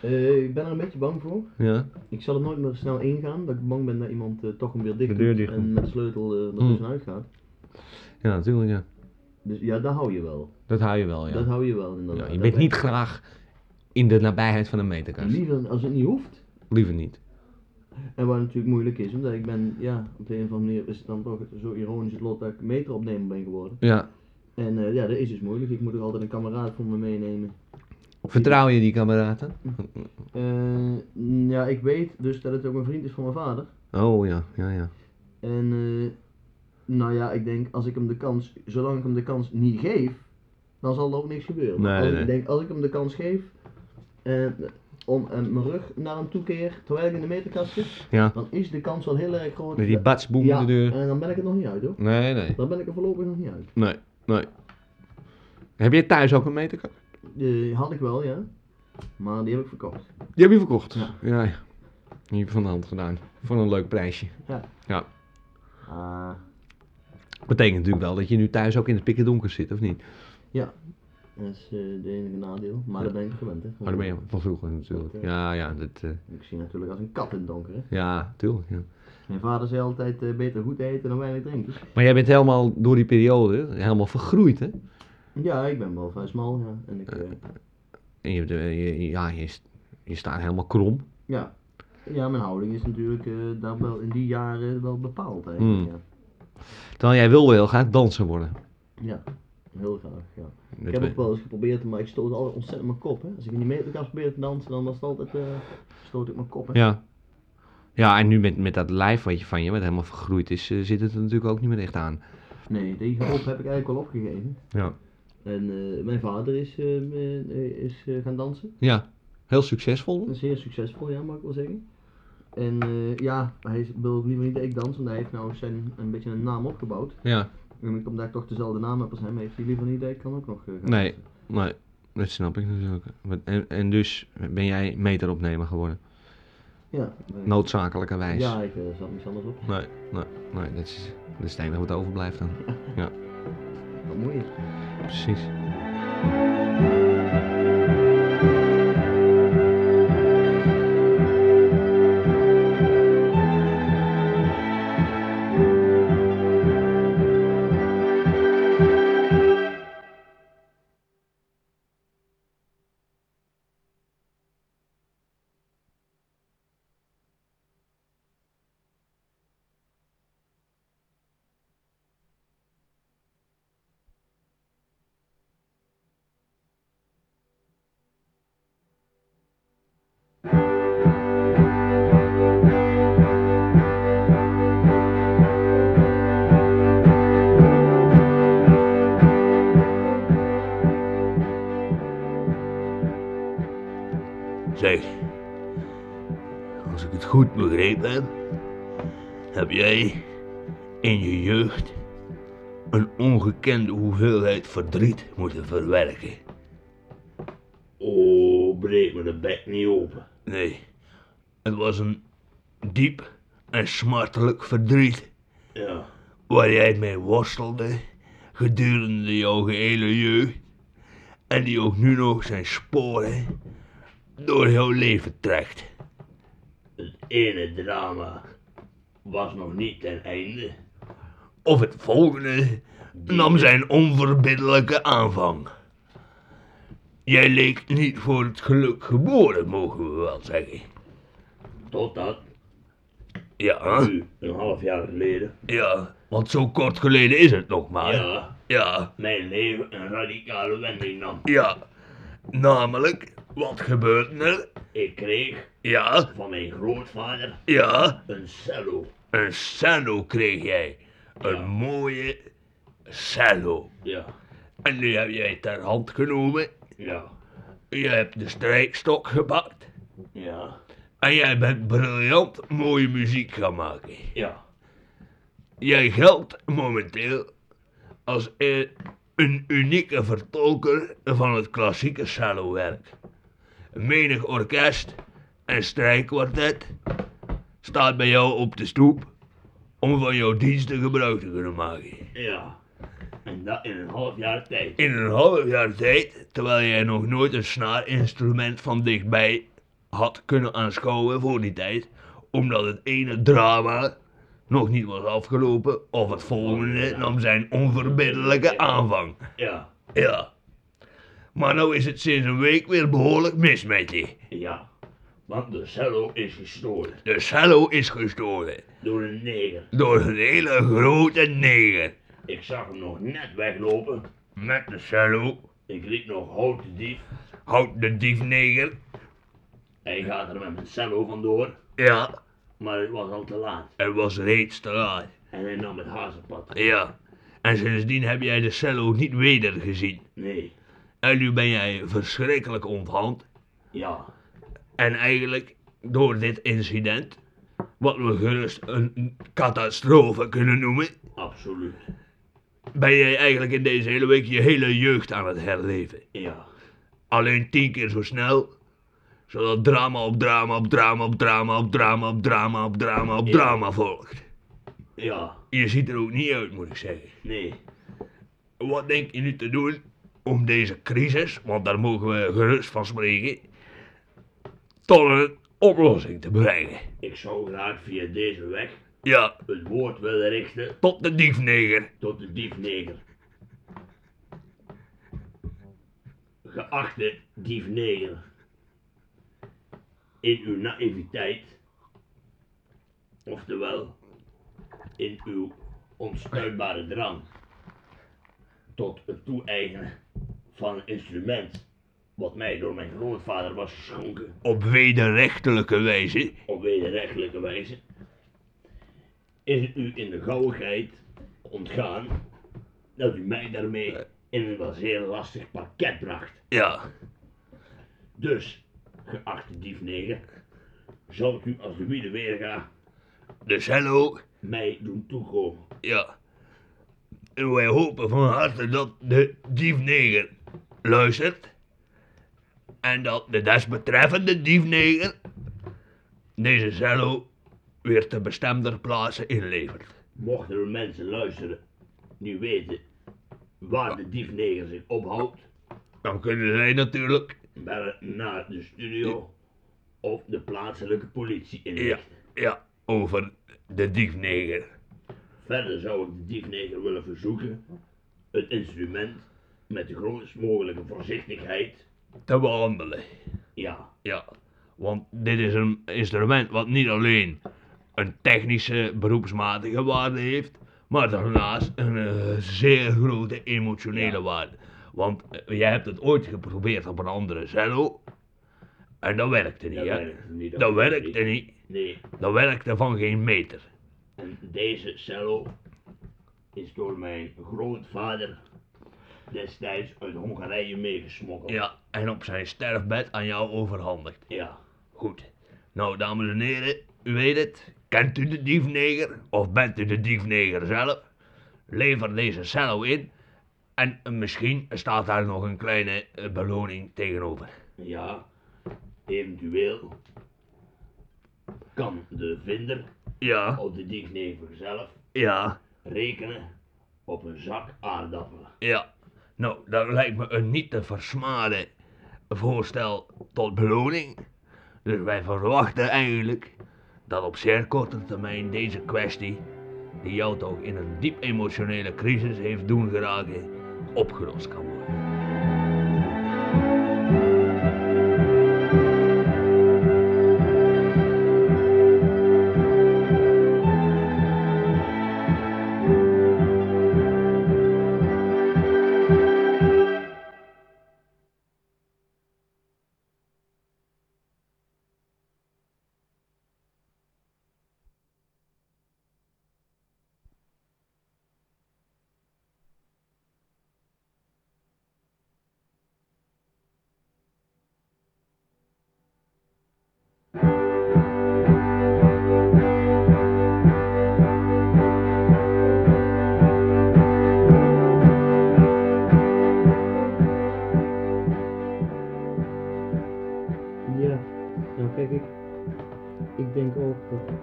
C: Eh, ik ben er een beetje bang voor.
D: Ja.
C: Ik zal er nooit meer snel ingaan, dat ik bang ben dat iemand eh, toch hem weer dicht
D: De deur
C: doet
D: dicht
C: en
D: doet.
C: met de sleutel eh, er
D: Mm.
C: tussenuit gaat.
D: Ja, natuurlijk ja.
C: Dus ja, daar hou je wel.
D: Dat hou je wel, ja.
C: Dat hou je wel inderdaad.
D: ja je
C: Dat
D: bent
C: ben-
D: niet graag in de nabijheid van een meterkast.
C: Liever als het niet hoeft.
D: Liever niet.
C: En wat natuurlijk moeilijk is, omdat ik ben, ja, op de een of andere manier is het dan toch zo ironisch het lot dat ik meteropnemer ben geworden.
D: Ja.
C: En eh, ja, dat is dus moeilijk. Ik moet er altijd een kameraad voor me meenemen.
D: Vertrouw je die kameraden?
C: Eh, ja, ik weet dus dat het ook een vriend is van mijn vader.
D: Oh ja, ja, ja.
C: En eh, nou ja, ik denk als ik hem de kans, zolang ik hem de kans niet geef, dan zal er ook niks gebeuren. Maar
D: Nee,
C: als
D: nee.
C: Ik denk als ik hem de kans geef en om en mijn rug naar hem toe keer, terwijl ik in de meterkast zit,
D: Ja.
C: dan is de kans wel heel erg groot.
D: Met die
C: dat-
D: batsboem
C: ja,
D: de deur.
C: en dan ben ik het nog niet uit hoor.
D: Nee, nee.
C: Dan ben ik er voorlopig nog niet uit.
D: Nee, nee. Heb jij thuis ook een meterkast?
C: Eh, had ik wel, ja. Maar die heb ik verkocht.
E: Die heb je verkocht.
C: Ja.
E: Ja, ja. Die heb je van de hand gedaan. Voor een leuk prijsje.
C: Ja.
E: Ja.
C: Ah,
E: Betekent natuurlijk wel dat je nu thuis ook in het pikken donker zit, of niet?
C: dat is eh de enige nadeel. Maar dat ben ik gewend, hè.
D: Oh,
E: Maar dat ben je van vroeger natuurlijk. Ja, ja, dat, eh,
C: Ik zie natuurlijk als een kat in het donker, hè.
E: ja tuurlijk. Ja.
C: Mijn vader zei altijd eh, beter goed eten dan weinig drinken.
E: Maar jij bent helemaal door die periode helemaal vergroeid, hè?
C: Ja, ik ben wel vrij smal, ja. En ik, eh,
E: En je, hebt, eh, je- ja, je, st- je staat helemaal krom.
C: ja. ja, mijn houding is natuurlijk eh, daar wel in die jaren wel bepaald, eigenlijk,
E: Mm. Terwijl jij wilde heel graag danser worden.
C: ja. Ja, heel graag, ja.
E: Dat
C: Ik heb
E: we-
C: ook wel eens geprobeerd, maar ik stoot altijd ontzettend mijn kop, hè. Als ik in die meterkast probeer te dansen, dan was het altijd, eh, stoot ik mijn kop, hè.
E: Ja. Ja, en nu met, met dat lijf wat je van je, wat helemaal vergroeid is, eh, zit het er natuurlijk ook niet meer echt aan.
C: Nee, die hoop heb ik eigenlijk al opgegeven.
E: Ja.
C: En eh, mijn vader is, eh, eh, is eh, gaan dansen.
E: Ja, heel succesvol.
C: Zeer succesvol, ja, mag ik wel zeggen. En eh, ja, hij is- wil ook liever niet dat ik dans, want hij heeft nou zijn, een beetje een naam opgebouwd.
E: Ja,
C: En omdat ik toch dezelfde naam heb als hem, heeft hij liever niet dat ik dan ook nog eh, gaan
E: Nee.
C: dansen.
E: maar dat snap ik natuurlijk. Wat- En, en dus ben jij meteropnemer geworden,
C: Ja, eh,
E: noodzakelijkerwijs.
C: ja, ik eh, zat niks anders op.
E: Nee, nee, nee, dat is, dat is het enige wat overblijft dan.
C: Wat moeilijk.
E: Precies.
D: Zeg, als ik het goed begrepen heb, heb jij in je jeugd een ongekende hoeveelheid verdriet moeten verwerken.
F: Oh, breek me de bek niet open.
D: Nee, het was een diep en smartelijk verdriet
F: Ja,
D: waar jij mee worstelde gedurende jouw gehele jeugd en die ook nu nog zijn sporen door jouw leven trekt.
F: het ene drama was nog niet ten einde.
D: of het volgende nam zijn onverbiddelijke aanvang. Jij leek niet voor het geluk geboren, mogen we wel zeggen.
F: Totdat
D: Ja,
F: u, een half jaar geleden,
D: ja, want zo kort geleden is het nog maar.
F: ja,
D: ja,
F: mijn leven een radicale wending nam.
D: ja. Namelijk, wat gebeurde er?
F: Ik kreeg
D: Ja,
F: van mijn grootvader
D: ja,
F: een cello.
D: een cello kreeg jij. Een mooie cello.
F: Ja,
D: En die heb jij ter hand genomen.
F: ja,
D: Je hebt de strijkstok gepakt.
F: ja,
D: En jij bent briljant mooie muziek gaan maken.
F: ja,
D: Jij geldt momenteel als eh, een unieke vertolker van het klassieke cellowerk. Menig orkest en strijkkwartet staat bij jou op de stoep om van jouw diensten gebruik te kunnen maken.
F: ja. En dat in een half jaar tijd.
D: In een half jaar tijd, terwijl jij nog nooit een snaarinstrument van dichtbij had kunnen aanschouwen voor die tijd, omdat het ene drama nog niet was afgelopen of het volgende nam zijn onverbiddelijke aanvang.
F: Ja,
D: Ja. Maar nou is het sinds een week weer behoorlijk mis met je.
F: ja. Want de cello is gestolen
D: De cello is gestolen
F: door een neger.
D: door een hele grote neger.
F: Ik zag hem nog net weglopen.
D: Met de cello
F: Ik riep nog houd de dief.
D: houdt de dief neger.
F: Hij gaat er met mijn cello vandoor,
D: Ja,
F: maar het was al te laat.
D: er was reeds te laat.
F: En hij nam het hazenpad.
D: Ja, en sindsdien heb jij de cello niet wedergezien.
F: Nee,
D: En nu ben jij verschrikkelijk onthand.
F: ja,
D: En eigenlijk, door dit incident, wat we gerust een catastrofe kunnen noemen,
F: absoluut.
D: ben jij eigenlijk in deze hele week je hele jeugd aan het herleven.
F: Ja,
D: Alleen tien keer zo snel Zodat drama op drama op drama op drama op drama op drama op drama op drama volgt.
C: Ja,
D: Je ziet er ook niet uit, moet ik zeggen.
C: nee.
D: Wat denk je nu te doen om deze crisis, want daar mogen we gerust van spreken, tot een oplossing te brengen?
C: Ik zou graag via deze weg
D: Ja,
C: het woord willen richten
D: tot de diefneger.
C: tot de diefneger. Geachte diefneger, in uw naïviteit, oftewel in uw onstuitbare drang tot het toe-eigenen van een instrument wat mij door mijn grootvader was geschonken
D: Op wederrechtelijke wijze.
C: op wederrechtelijke wijze, is het u in de gauwigheid ontgaan dat u mij daarmee in een wel zeer lastig parket bracht.
D: Ja,
C: Dus, geachte diefneger, zou u als de wiede weerga
D: dus hello.
C: mij doen toekomen.
D: Ja. En wij hopen van harte dat de diefneger luistert. En dat de desbetreffende diefneger deze cello weer te bestemder plaatse inlevert.
C: Mochten er mensen luisteren die weten waar de diefneger zich ophoudt,
D: Dan kunnen zij natuurlijk.
C: bellen naar de studio of de plaatselijke politie
D: Ja,
C: inlichten.
D: ja, over de diefneger.
C: Verder zou ik de diefneger willen verzoeken het instrument met de grootst mogelijke voorzichtigheid,
D: te behandelen.
C: ja,
D: Ja, want dit is een instrument wat niet alleen een technische beroepsmatige waarde heeft, maar daarnaast een eh, zeer grote emotionele waarde. Want eh, jij hebt het ooit geprobeerd op een andere cello en dat werkte niet,
C: dat
D: hè?
C: werkte niet.
D: Dat werkte niet.
C: Nee,
D: Dat werkte van geen meter.
C: en deze cello is door mijn grootvader destijds uit Hongarije meegesmokkeld.
D: Ja, en op zijn sterfbed aan jou overhandigd.
C: Ja,
D: Goed. Nou, dames en heren, u weet het. Kent u de diefneger? Of bent u de diefneger zelf? Lever deze cello in. En misschien staat daar nog een kleine eh, beloning tegenover.
C: ja, eventueel kan de vinder
D: Ja,
C: of de diefneger zelf
D: ja,
C: rekenen op een zak aardappelen.
D: ja. Nou, dat lijkt me een niet te versmaden voorstel tot beloning. Dus wij verwachten eigenlijk dat op zeer korte termijn deze kwestie, die jou toch in een diep emotionele crisis heeft doen geraken, opgelost kan worden.
G: Ja, nou kijk, ik, ik denk ook dat.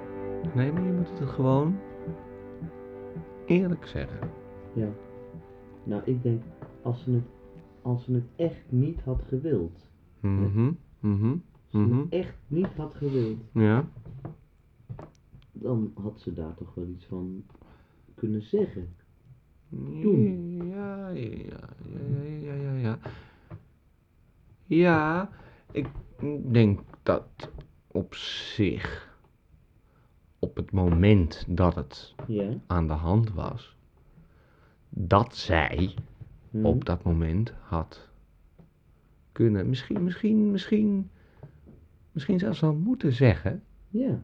E: Nee, maar je moet het gewoon eerlijk zeggen.
G: Nou, ik denk, als ze het, als ze het echt niet had gewild.
E: Mhm, mhm,
G: Als ze
E: mhm.
G: het echt niet had gewild,
E: Ja.
G: dan had ze daar toch wel iets van kunnen zeggen. Doen.
E: Ja, ja, ja, ja, ja, ja, ja. Ja, ik denk dat op zich, op het moment dat het
G: Ja.
E: aan de hand was, dat zij
G: hm.
E: op dat moment had kunnen, misschien, misschien, misschien, misschien zelfs wel moeten zeggen
G: Ja.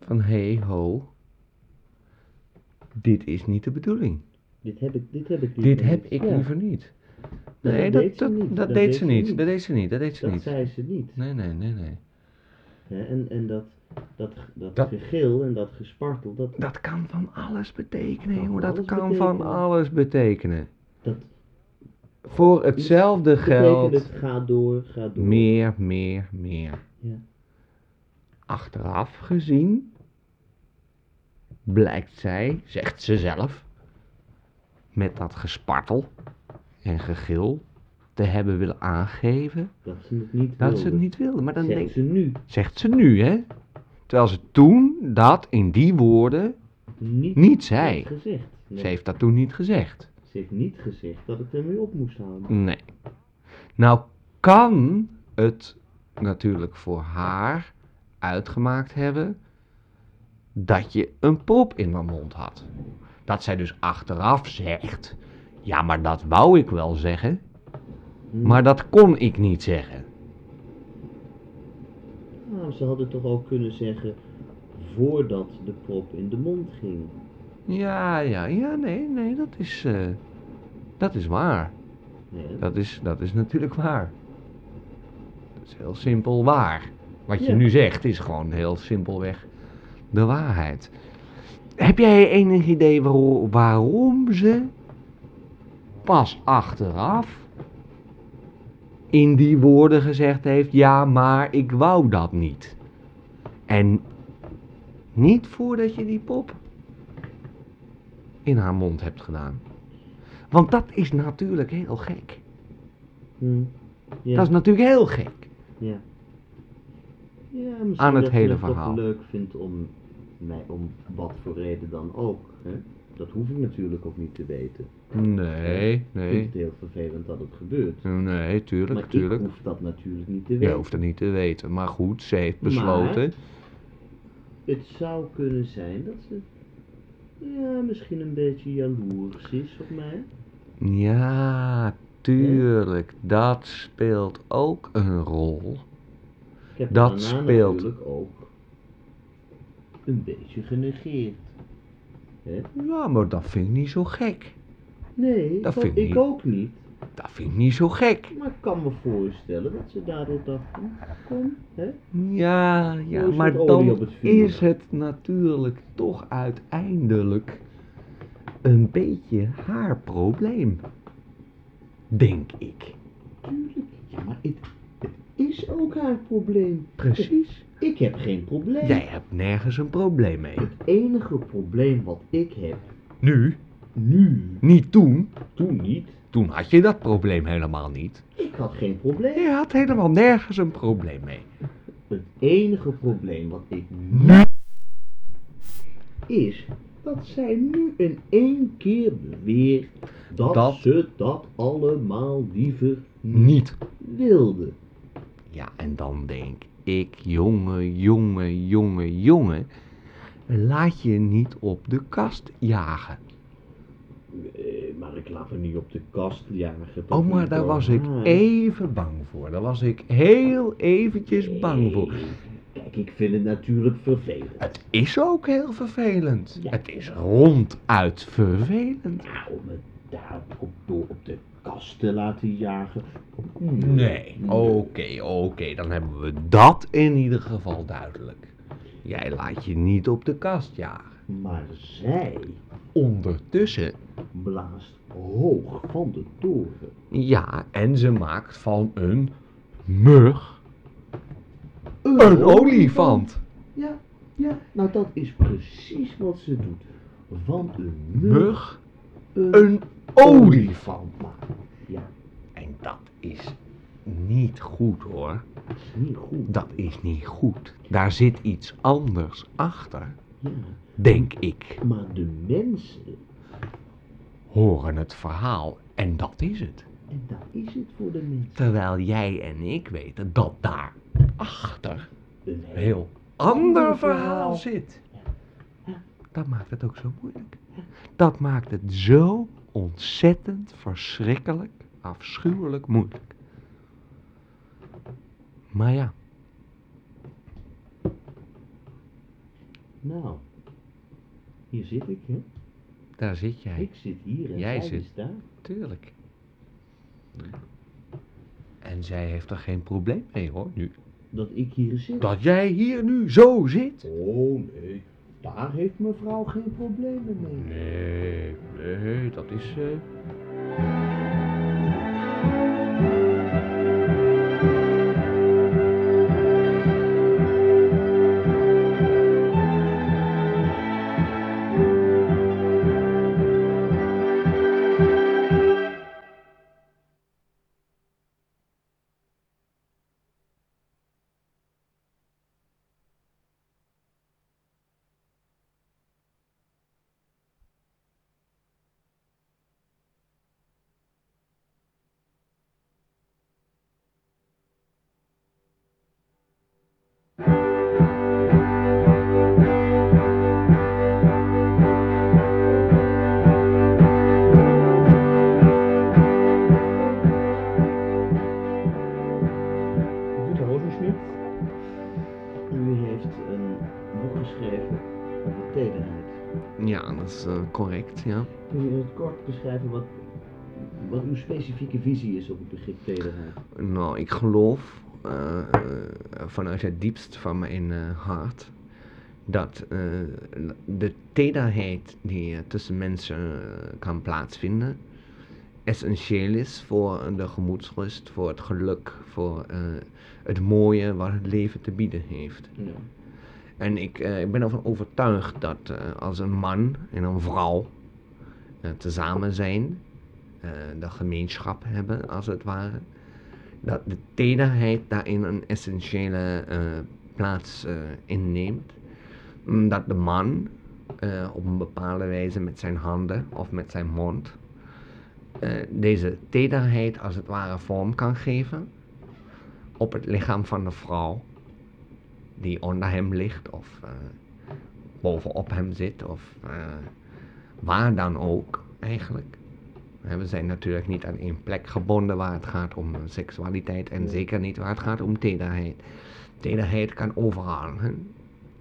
E: van hé hey, ho, dit is niet de bedoeling.
G: Dit heb ik, dit heb ik liever
E: Dit heb
G: niet.
E: ik
G: Ja,
E: liever niet.
G: dat
E: Nee,
G: deed
E: dat,
G: ze
E: dat,
G: niet,
E: dat, deed ze niet. Dat deed ze niet. Dat deed ze
G: Dat
E: niet.
G: zei ze niet.
E: Nee, nee, nee, nee.
G: Hè, en en dat, dat, dat,
E: Dat-
G: gegil en dat gespartel, dat,
E: Dat kan van alles betekenen,
G: Kan
E: jongen.
G: van
E: Dat
G: alles
E: kan van
G: betekenen.
E: alles betekenen.
G: dat,
E: voor hetzelfde
C: Betekent
E: geld
C: het gaat door, gaat door.
E: meer, meer, meer.
C: Ja.
E: Achteraf gezien blijkt zij, zegt ze zelf, met dat gespartel en gegil te hebben willen aangeven
C: Dat ze het niet
E: dat ze het
C: wilde.
E: niet wilde. Maar dan
C: Zegt
E: denk
C: ze nu
E: zegt ze nu, hè? Terwijl ze toen dat in die woorden
C: niet,
E: niet zei.
C: heeft gezegd. Nee,
E: Ze heeft dat toen niet gezegd.
C: ze heeft niet gezegd dat het ermee op moest houden.
E: Nee. Nou kan het natuurlijk voor haar uitgemaakt hebben dat je een pop in mijn mond had. Dat zij dus achteraf zegt, ja maar dat wou ik wel zeggen,
C: Hm.
E: maar dat kon ik niet zeggen.
C: Nou, ze hadden toch ook kunnen zeggen voordat de prop in de mond ging.
E: Ja, ja, ja, nee, nee, dat is, eh, dat is waar.
C: Hè?
E: Dat is, dat is natuurlijk waar. Dat is heel simpel waar. Wat je
C: Ja.
E: nu zegt is gewoon heel simpelweg de waarheid. Heb jij enig idee waarom, waarom ze pas achteraf in die woorden gezegd heeft: ja, maar ik wou dat niet? En niet voordat je die pop in haar mond hebt gedaan. Want dat is natuurlijk heel gek.
C: Hm. Ja.
E: Dat is natuurlijk heel gek.
C: Ja. Ja, misschien
E: Aan het
C: dat
E: hele
C: je het toch
E: verhaal.
C: leuk vindt om mij om wat voor reden dan ook. Hè? Dat hoef ik natuurlijk ook niet te weten.
E: Nee,
C: Ik vind
E: nee.
C: het heel vervelend dat het gebeurt.
E: Nee, tuurlijk,
C: maar
E: tuurlijk.
C: ik hoef dat natuurlijk niet te
E: Je
C: weten.
E: hoeft het niet te weten. Maar goed, ze heeft besloten.
C: Het zou kunnen zijn dat ze ja, misschien een beetje jaloers is op mij.
E: Ja, tuurlijk. Dat speelt ook een rol.
C: Ik heb
E: Dat
C: daarna
E: speelt.
C: natuurlijk ook een beetje genegeerd. Hè?
E: Ja, maar dat vind ik niet zo gek.
C: Nee,
E: Dat
C: ik,
E: vind ik
C: ik
E: niet.
C: ook niet.
E: Dat vind ik niet zo gek.
C: Maar ik kan me voorstellen dat ze daardoor dachten, kom, hè?
E: Ja, ja,
C: Hoe is
E: maar
C: het olie op
E: dan
C: het vuur?
E: is het natuurlijk toch uiteindelijk een beetje haar probleem. Denk ik.
C: Tuurlijk. Ja, maar het, het is ook haar probleem.
E: Precies.
C: Ik heb geen probleem.
E: Jij hebt nergens een probleem mee.
C: Het enige probleem wat ik heb,
E: Nu,
C: nu,
E: niet toen.
C: toen niet,
E: Toen had je dat probleem helemaal niet.
C: ik had geen probleem.
E: Je had helemaal nergens een probleem mee.
C: Het enige probleem wat ik nu is dat zij nu in één keer beweert dat,
E: Dat-
C: ze dat allemaal liever
E: Niet.
C: wilde.
E: Ja, en dan denk ik, jongen, jongen, jongen, jongen. Laat je niet op de kast jagen.
C: Eh, maar ik laat me niet op de kast jagen. dat
E: Oh,
C: niet
E: maar
C: Ah.
E: daar
C: hoor.
E: was ik
C: Maar-
E: even bang voor. Daar was ik heel eventjes bang voor.
C: Nee, Kijk, ik vind het natuurlijk vervelend.
E: Het is ook heel vervelend. Het is ronduit vervelend.
C: Nou, om het daar op, door op de kast te laten jagen. Hmm,
E: Nee, oké, oké, dan hebben we dat in ieder geval duidelijk. Jij laat je niet op de kast jagen.
C: Maar zij
E: Ondertussen,
C: blaast hoog van de toren.
E: ja, en ze maakt van een mug
C: Een,
E: een olifant.
C: Ja, ja, nou dat is precies wat ze doet. Van een mug
E: Mug, een olifant.
C: maken. Ja,
E: En dat is niet goed hoor.
C: dat is niet goed.
E: Dat is niet goed. Daar zit iets anders achter,
C: Ja,
E: denk ik.
C: maar de mensen,
E: Horen het verhaal en dat is het.
C: en dat is het voor de mensen.
E: Terwijl jij en ik weten dat daarachter
C: Een
E: een heel ander verhaal zit. Dat maakt het ook zo moeilijk. Dat maakt het zo ontzettend verschrikkelijk, afschuwelijk moeilijk. Maar ja,
C: Nou, hier zit ik, hè?
E: daar zit jij.
C: Ik zit hier en
E: Jij
C: zij
E: zit-
C: is daar.
E: Tuurlijk. En zij heeft er geen probleem mee hoor, nu.
C: Dat ik hier zit.
E: Dat jij hier nu zo zit.
C: Oh nee, daar heeft mevrouw geen problemen mee.
E: Nee, nee, dat is. eh,
C: gesnipt. U heeft een boek geschreven over tederheid.
E: Ja, dat is eh, correct, ja.
C: Kun je in het kort beschrijven wat, wat uw specifieke visie is op het begrip tederheid?
E: Nou, ik geloof eh, eh, vanuit het diepst van mijn eh, hart dat eh, de tederheid die er tussen mensen eh, kan plaatsvinden essentieel is voor de gemoedsrust, voor het geluk, voor eh, het mooie wat het leven te bieden heeft.
C: Ja.
E: En ik, eh, ik ben ervan overtuigd dat eh, als een man en een vrouw eh, tezamen zijn, eh, de gemeenschap hebben als het ware, dat de tederheid daarin een essentiële eh, plaats eh, inneemt. Mm, Dat de man eh, op een bepaalde wijze met zijn handen of met zijn mond eh, deze tederheid als het ware vorm kan geven op het lichaam van de vrouw die onder hem ligt of eh, bovenop hem zit of eh, waar dan ook eigenlijk. Eh, We zijn natuurlijk niet aan één plek gebonden waar het gaat om seksualiteit en
C: Nee.
E: zeker niet waar het gaat om tederheid. Tederheid kan overal, hè?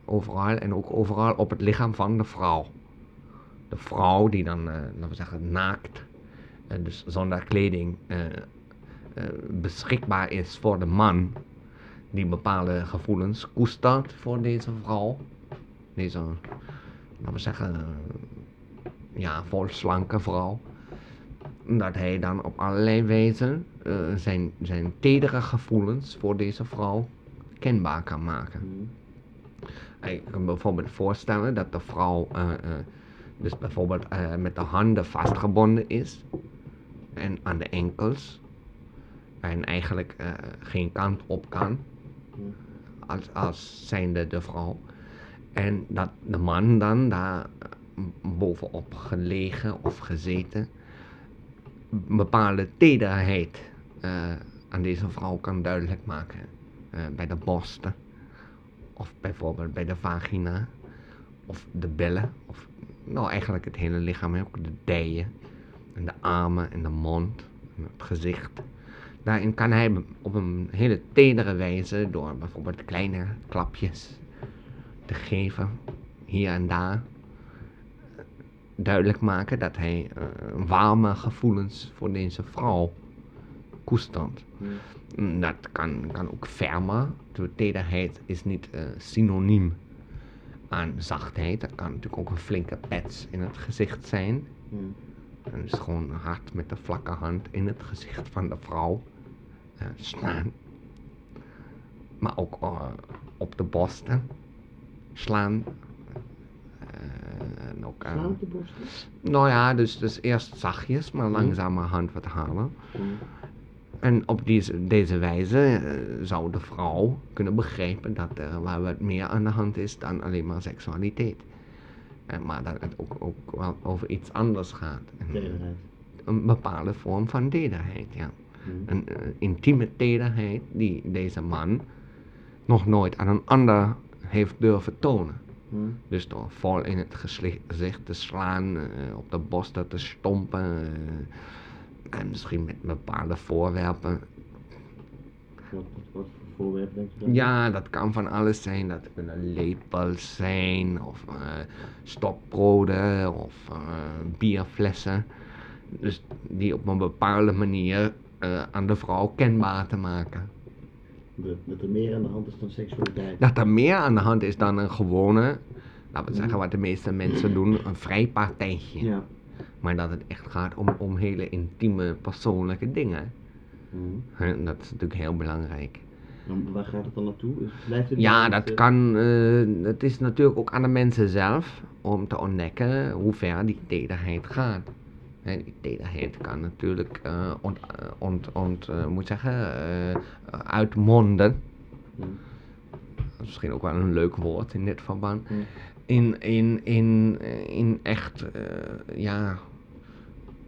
E: overal en ook overal op het lichaam van de vrouw. De vrouw die dan, eh, laten we zeggen, naakt, eh, dus zonder kleding, eh, eh, beschikbaar is voor de man die bepaalde gevoelens koestert voor deze vrouw. Deze, laten we zeggen, eh, ja, volslanke vrouw. Dat hij dan op allerlei wijzen eh, zijn, zijn tedere gevoelens voor deze vrouw kenbaar kan maken. Ik kan me bijvoorbeeld voorstellen dat de vrouw eh, eh, dus bijvoorbeeld eh, met de handen vastgebonden is en aan de enkels en eigenlijk eh, geen kant op kan als, als zijnde de vrouw en dat de man dan daar eh, bovenop gelegen of gezeten een bepaalde tederheid eh, aan deze vrouw kan duidelijk maken Eh, bij de borsten of bijvoorbeeld bij de vagina. Of de bellen. Of nou eigenlijk het hele lichaam. hè, Ook de dijen. En de armen en de mond. En het gezicht. Daarin kan hij op een hele tedere wijze. Door bijvoorbeeld kleine klapjes te geven. Hier en daar. Duidelijk maken dat hij eh, warme gevoelens voor deze vrouw koestert. Mm, Dat kan, kan ook fermer. De tederheid is niet eh, synoniem aan zachtheid. Dat kan natuurlijk ook een flinke pets in het gezicht zijn. En dus gewoon hard met de vlakke hand in het gezicht van de vrouw eh, slaan. Maar ook eh, op de borsten slaan. Eh, en ook, eh,
C: Slaan op de borsten?
E: nou ja, dus, dus eerst zachtjes, maar langzamerhand wat halen. En op deze, deze wijze eh, zou de vrouw kunnen begrijpen dat er wel wat meer aan de hand is dan alleen maar seksualiteit. En maar dat het ook, ook wel over iets anders gaat. En
C: Tederheid.
E: Een bepaalde vorm van tederheid, ja. Een eh, intieme tederheid die deze man nog nooit aan een ander heeft durven tonen. Dus door vol in het gesli- gezicht te slaan, eh, op de borsten te stompen. eh, en misschien met bepaalde
C: Wat,
E: voorwerpen.
C: wat, wat voor voorwerp denk je dan?
E: Ja, dat kan van alles zijn. Dat kunnen lepels zijn, of eh, stokbroden, of eh, bierflessen. Dus die op een bepaalde manier eh, aan de vrouw kenbaar te maken.
C: Dat, dat er meer aan de hand is dan seksualiteit.
E: dat er meer aan de hand is dan een gewone, laten we zeggen wat de meeste mensen doen, een vrij partijtje.
C: Ja.
E: Maar dat het echt gaat om, om hele intieme, persoonlijke dingen.
C: Mhm.
E: Hè, Dat is natuurlijk heel belangrijk.
C: Dan, waar gaat het dan naartoe? Is- Blijft het
E: Ja,
C: bij het,
E: dat
C: eh,
E: kan. eh, het is natuurlijk ook aan de mensen zelf om te ontdekken hoe ver die tederheid gaat. En die tederheid kan natuurlijk eh, ont, eh, ont, ont, eh, moet zeggen, eh, uitmonden.
C: Ja.
E: Dat is misschien ook wel een leuk woord in dit verband.
C: Ja.
E: In, in, in, eh, in echt eh, ja,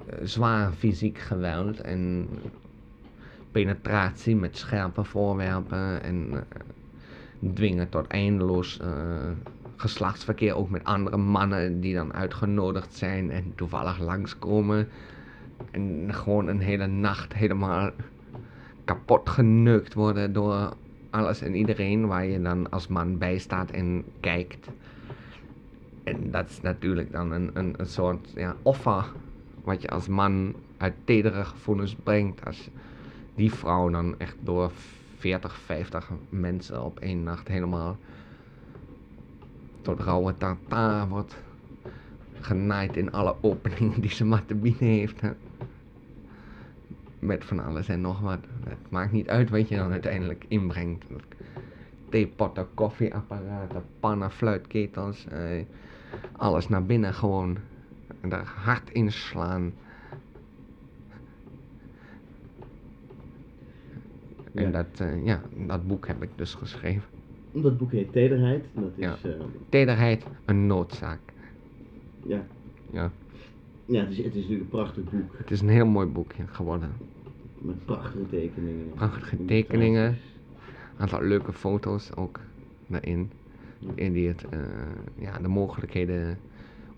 E: eh, zwaar fysiek geweld en penetratie met scherpe voorwerpen en eh, dwingen tot eindeloos eh, geslachtsverkeer, ook met andere mannen die dan uitgenodigd zijn en toevallig langskomen. En gewoon een hele nacht helemaal kapot geneukt worden door alles en iedereen waar je dan als man bij staat en kijkt. En dat is natuurlijk dan een, een, een soort ja, offer wat je als man uit tedere gevoelens brengt. Als die vrouw dan echt door 40, 50 mensen op één nacht helemaal tot rauwe tartaar wordt genaaid in alle openingen die ze maar te bieden heeft. hè. Met van alles en nog wat. Het maakt niet uit wat je dan uiteindelijk inbrengt. Theepotten, koffieapparaten, pannen, fluitketels. eh, alles naar binnen gewoon. En daar hard in slaan. En
C: Ja.
E: dat, eh, ja, dat boek heb ik dus geschreven.
C: Dat boek heet Tederheid. en Dat
E: Ja.
C: is, eh,
E: Tederheid, een noodzaak.
C: ja.
E: Ja.
C: Ja, het is, het is natuurlijk een prachtig boek.
E: Het is een heel mooi boekje geworden.
C: Met prachtige tekeningen.
E: Prachtige
C: Illustraties.
E: tekeningen. Een aantal leuke foto's ook daarin.
C: Ja.
E: In die het, eh, ja, de mogelijkheden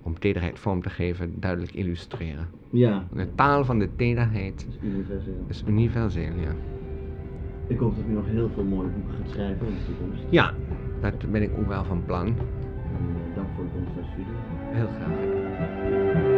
E: om tederheid vorm te geven duidelijk illustreren.
C: Ja,
E: De taal van de tederheid
C: dat is universeel.
E: is universeel, ja.
C: Ik hoop dat je nog heel veel mooie boeken gaat schrijven in de toekomst.
E: Ja, dat ben ik ook wel van plan.
C: En, eh, dank voor het komst naar de studio.
E: Heel graag.